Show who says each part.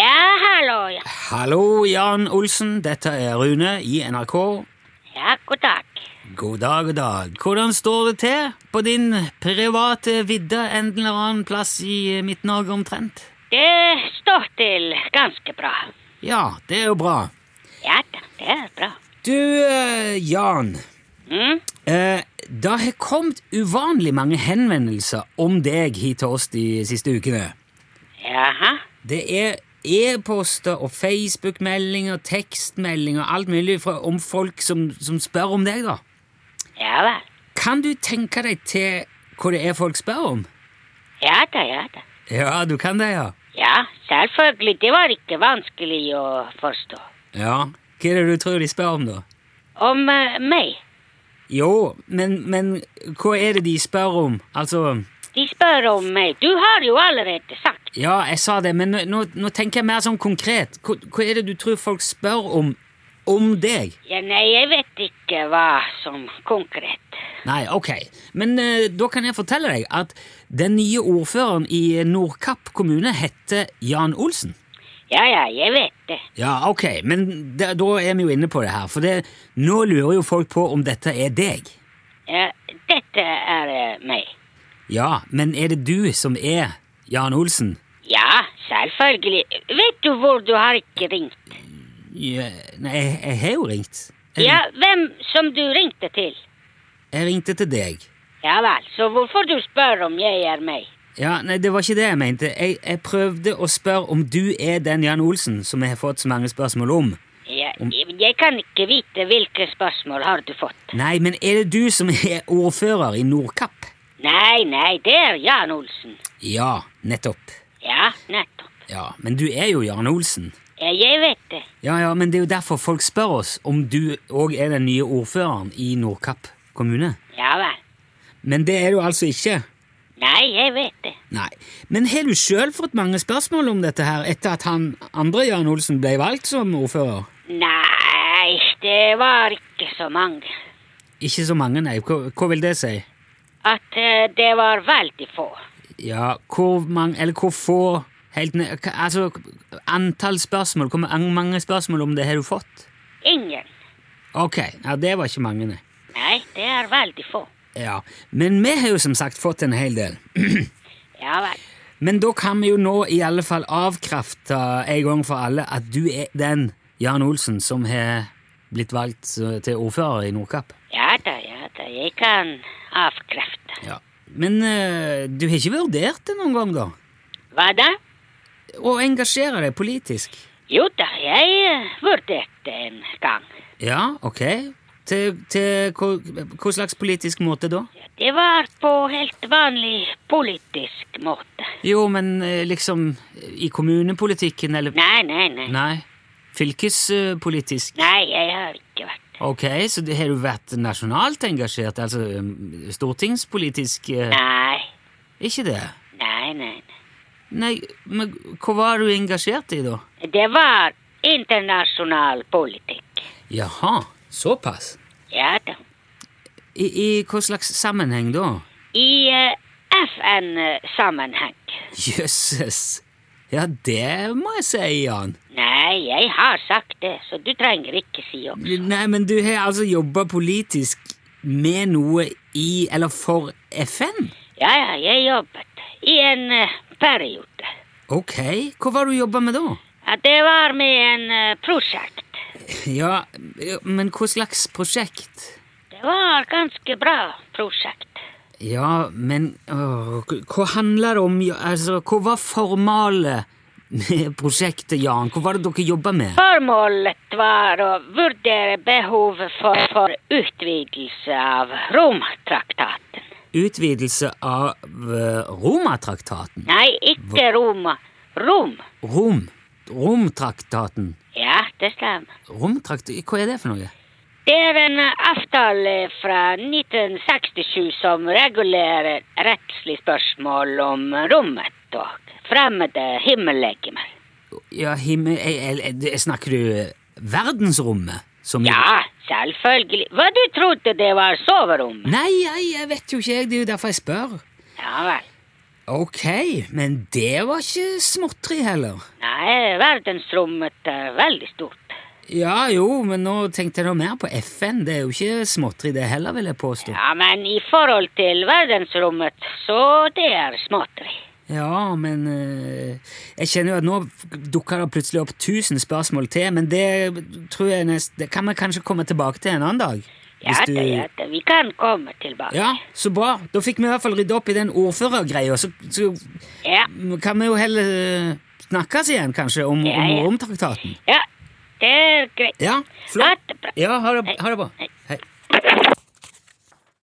Speaker 1: hallo, ja.
Speaker 2: Hallo, Jan Olsen. Dette er Rune i NRK.
Speaker 1: Ja, god dag.
Speaker 2: God dag, god dag. Hvordan står det til på din private vidde en eller annen plass i Midt-Norge omtrent?
Speaker 1: Det står til ganske bra.
Speaker 2: Ja, det er jo bra.
Speaker 1: Ja da, det er bra.
Speaker 2: Du, eh, Jan.
Speaker 1: Mm?
Speaker 2: Eh, det har kommet uvanlig mange henvendelser om deg hit til oss de siste ukene.
Speaker 1: Jaha.
Speaker 2: Det er e-poster og Facebook-meldinger, tekstmeldinger, alt mulig fra, om folk som, som spør om deg, da.
Speaker 1: Ja vel.
Speaker 2: Kan du tenke deg til hva det er folk spør om?
Speaker 1: Ja da, ja da.
Speaker 2: Ja, du kan det, ja.
Speaker 1: Ja, selvfølgelig. Det var ikke vanskelig å forstå.
Speaker 2: Ja. Hva er det du tror de spør om, da?
Speaker 1: Om eh, meg.
Speaker 2: Jo, men, men hva er det de spør om? Altså
Speaker 1: De spør om meg. Du har jo allerede sagt.
Speaker 2: Ja, jeg sa det, men nå, nå- nå tenker jeg mer sånn konkret. Hva, hva er det du tror folk spør om om deg?
Speaker 1: Ja, nei, jeg vet ikke hva som konkret.
Speaker 2: Nei, ok. Men eh, da kan jeg fortelle deg at den nye ordføreren i Nordkapp kommune heter Jan Olsen.
Speaker 1: Ja, ja, jeg vet det.
Speaker 2: Ja, ok, men da- da er vi jo inne på det her, for det, nå lurer jo folk på om dette er deg.
Speaker 1: Ja, dette er eh, meg.
Speaker 2: Ja, men er det du som er Jan Olsen?
Speaker 1: Ja, selvfølgelig. Vet du hvor du har ikke ringt?
Speaker 2: Ja, nei, jeg, jeg har jo ringt. Jeg,
Speaker 1: Ja, hvem som du ringte til?
Speaker 2: jeg ringte til deg.
Speaker 1: Ja vel, så hvorfor du spør om jeg er meg?
Speaker 2: Ja, nei, det var ikke det jeg mente. Jeg, jeg prøvde å spørre om du er den Jan Olsen som jeg har fått så mange spørsmål om.
Speaker 1: Jeg, jeg kan ikke vite hvilke spørsmål har du fått.
Speaker 2: Nei, men er det du som er ordfører i Nordkapp?
Speaker 1: Nei, nei, det er Jan Olsen.
Speaker 2: Ja, nettopp.
Speaker 1: Ja, nettopp.
Speaker 2: Ja, men du er jo Jan Olsen.
Speaker 1: Ja, jeg vet det.
Speaker 2: Ja, ja, men det er jo derfor folk spør oss om du òg er den nye ordføreren i Nordkapp kommune.
Speaker 1: Ja vel.
Speaker 2: Men det er du altså ikke.
Speaker 1: Nei, jeg vet det.
Speaker 2: Nei. Men har du sjøl fått mange spørsmål om dette her etter at han andre Jan Olsen ble valgt som ordfører?
Speaker 1: Nei, det var ikke så mange.
Speaker 2: Ikke så mange, nei. Hva, hva vil det si?
Speaker 1: At eh, det var veldig få.
Speaker 2: Ja, hvor mange Eller hvor få helt ned, hva- Altså, antall spørsmål Hvor mange mange spørsmål om det har du fått?
Speaker 1: Ingen.
Speaker 2: Ok, ja, det var ikke mange, nei.
Speaker 1: Nei, det er veldig få.
Speaker 2: Ja, Men vi har jo som sagt fått en hel del.
Speaker 1: Ja vel.
Speaker 2: Men da kan vi jo nå i alle fall avkrefte en gang for alle at du er den Jan Olsen som har blitt valgt eh, til ordfører i Nordkapp.
Speaker 1: Ja da, ja da, jeg kan avkrefte.
Speaker 2: Ja. Men eh, du har ikke vurdert det noen gang, da?
Speaker 1: Hva da?
Speaker 2: Å engasjere deg politisk?
Speaker 1: Jo da, jeg eh, vurderte en gang.
Speaker 2: Ja, ok. Til, til hva, hva slags politisk måte da?
Speaker 1: Det var på helt vanlig politisk måte.
Speaker 2: Jo, men eh, liksom i kommunepolitikken, eller
Speaker 1: Nei, nei, nei.
Speaker 2: Nei. Fylkespolitisk?
Speaker 1: Nei, jeg har ikke vært
Speaker 2: Ok, så det har du vært nasjonalt engasjert? Altså eh, stortingspolitisk? eh,
Speaker 1: Nei,
Speaker 2: Ikke det?
Speaker 1: nei, nei. nei.
Speaker 2: Nei, men hva var du engasjert i, da?
Speaker 1: Det var internasjonal politikk.
Speaker 2: Jaha, såpass.
Speaker 1: Ja da.
Speaker 2: I, i hva slags sammenheng da?
Speaker 1: I eh, FN-sammenheng.
Speaker 2: Jøsses. Ja, det må jeg si, Jan.
Speaker 1: Nei, jeg har sagt det, så du trenger ikke si opp.
Speaker 2: Nei, men du har altså jobba politisk med noe i eller for FN?
Speaker 1: Ja, ja, jeg jobbet i en eh, periode.
Speaker 2: Ok, hva var det du jobba med da?
Speaker 1: Ja, det var med en eh, prosjekt.
Speaker 2: Ja, men hva slags prosjekt?
Speaker 1: Det var ganske bra prosjekt.
Speaker 2: Ja, men åh, hva handler det om? ja, Altså, hva var formålet med prosjektet, Jan? Hva var det dere jobba med?
Speaker 1: Formålet var å vurdere behovet for, for utvidelse av Romtraktaten.
Speaker 2: Utvidelse av eh, Romatraktaten?
Speaker 1: Nei, ikke Roma. Rom.
Speaker 2: Rom? Romtraktaten?
Speaker 1: Ja, det stemmer.
Speaker 2: Romtrakt... Hva er det for noe?
Speaker 1: Det er en avtale fra 1967 som regulerer rettslig spørsmål om rommet og fremmede himmellegemer.
Speaker 2: Ja, himmel... Jeg, jeg, jeg, snakker du eh, verdensrommet? Som
Speaker 1: Ja, selvfølgelig. Hva du trodde det var soverommet?
Speaker 2: Nei, nei, jeg vet jo ikke, jeg. Det er jo derfor jeg spør.
Speaker 1: Ja vel.
Speaker 2: Ok, men det var ikke småtteri heller.
Speaker 1: Nei, verdensrommet er veldig stort.
Speaker 2: Ja jo, men nå tenkte jeg da mer på FN. Det er jo ikke småtteri det heller, vil jeg påstå.
Speaker 1: Ja, men i forhold til verdensrommet, så det er småtteri.
Speaker 2: Ja, men eh, Jeg kjenner jo at nå dukker det plutselig opp tusen spørsmål til, men det tror jeg nest, Det kan vi kanskje komme tilbake til en annen dag.
Speaker 1: Ja, da, ja, da, vi kan komme tilbake.
Speaker 2: Ja, så bra. Da fikk vi i hvert fall rydda opp i den ordførergreia, så, så
Speaker 1: Ja,
Speaker 2: kan vi jo heller eh, snakkes igjen, kanskje, om,
Speaker 1: Ja,
Speaker 2: om
Speaker 1: ja.
Speaker 2: Romtraktaten.
Speaker 1: ja det er greit.
Speaker 2: Ja,
Speaker 1: Ha
Speaker 2: flott.
Speaker 1: det bra.
Speaker 2: Ja, ha det, ha det bra.
Speaker 1: Hei.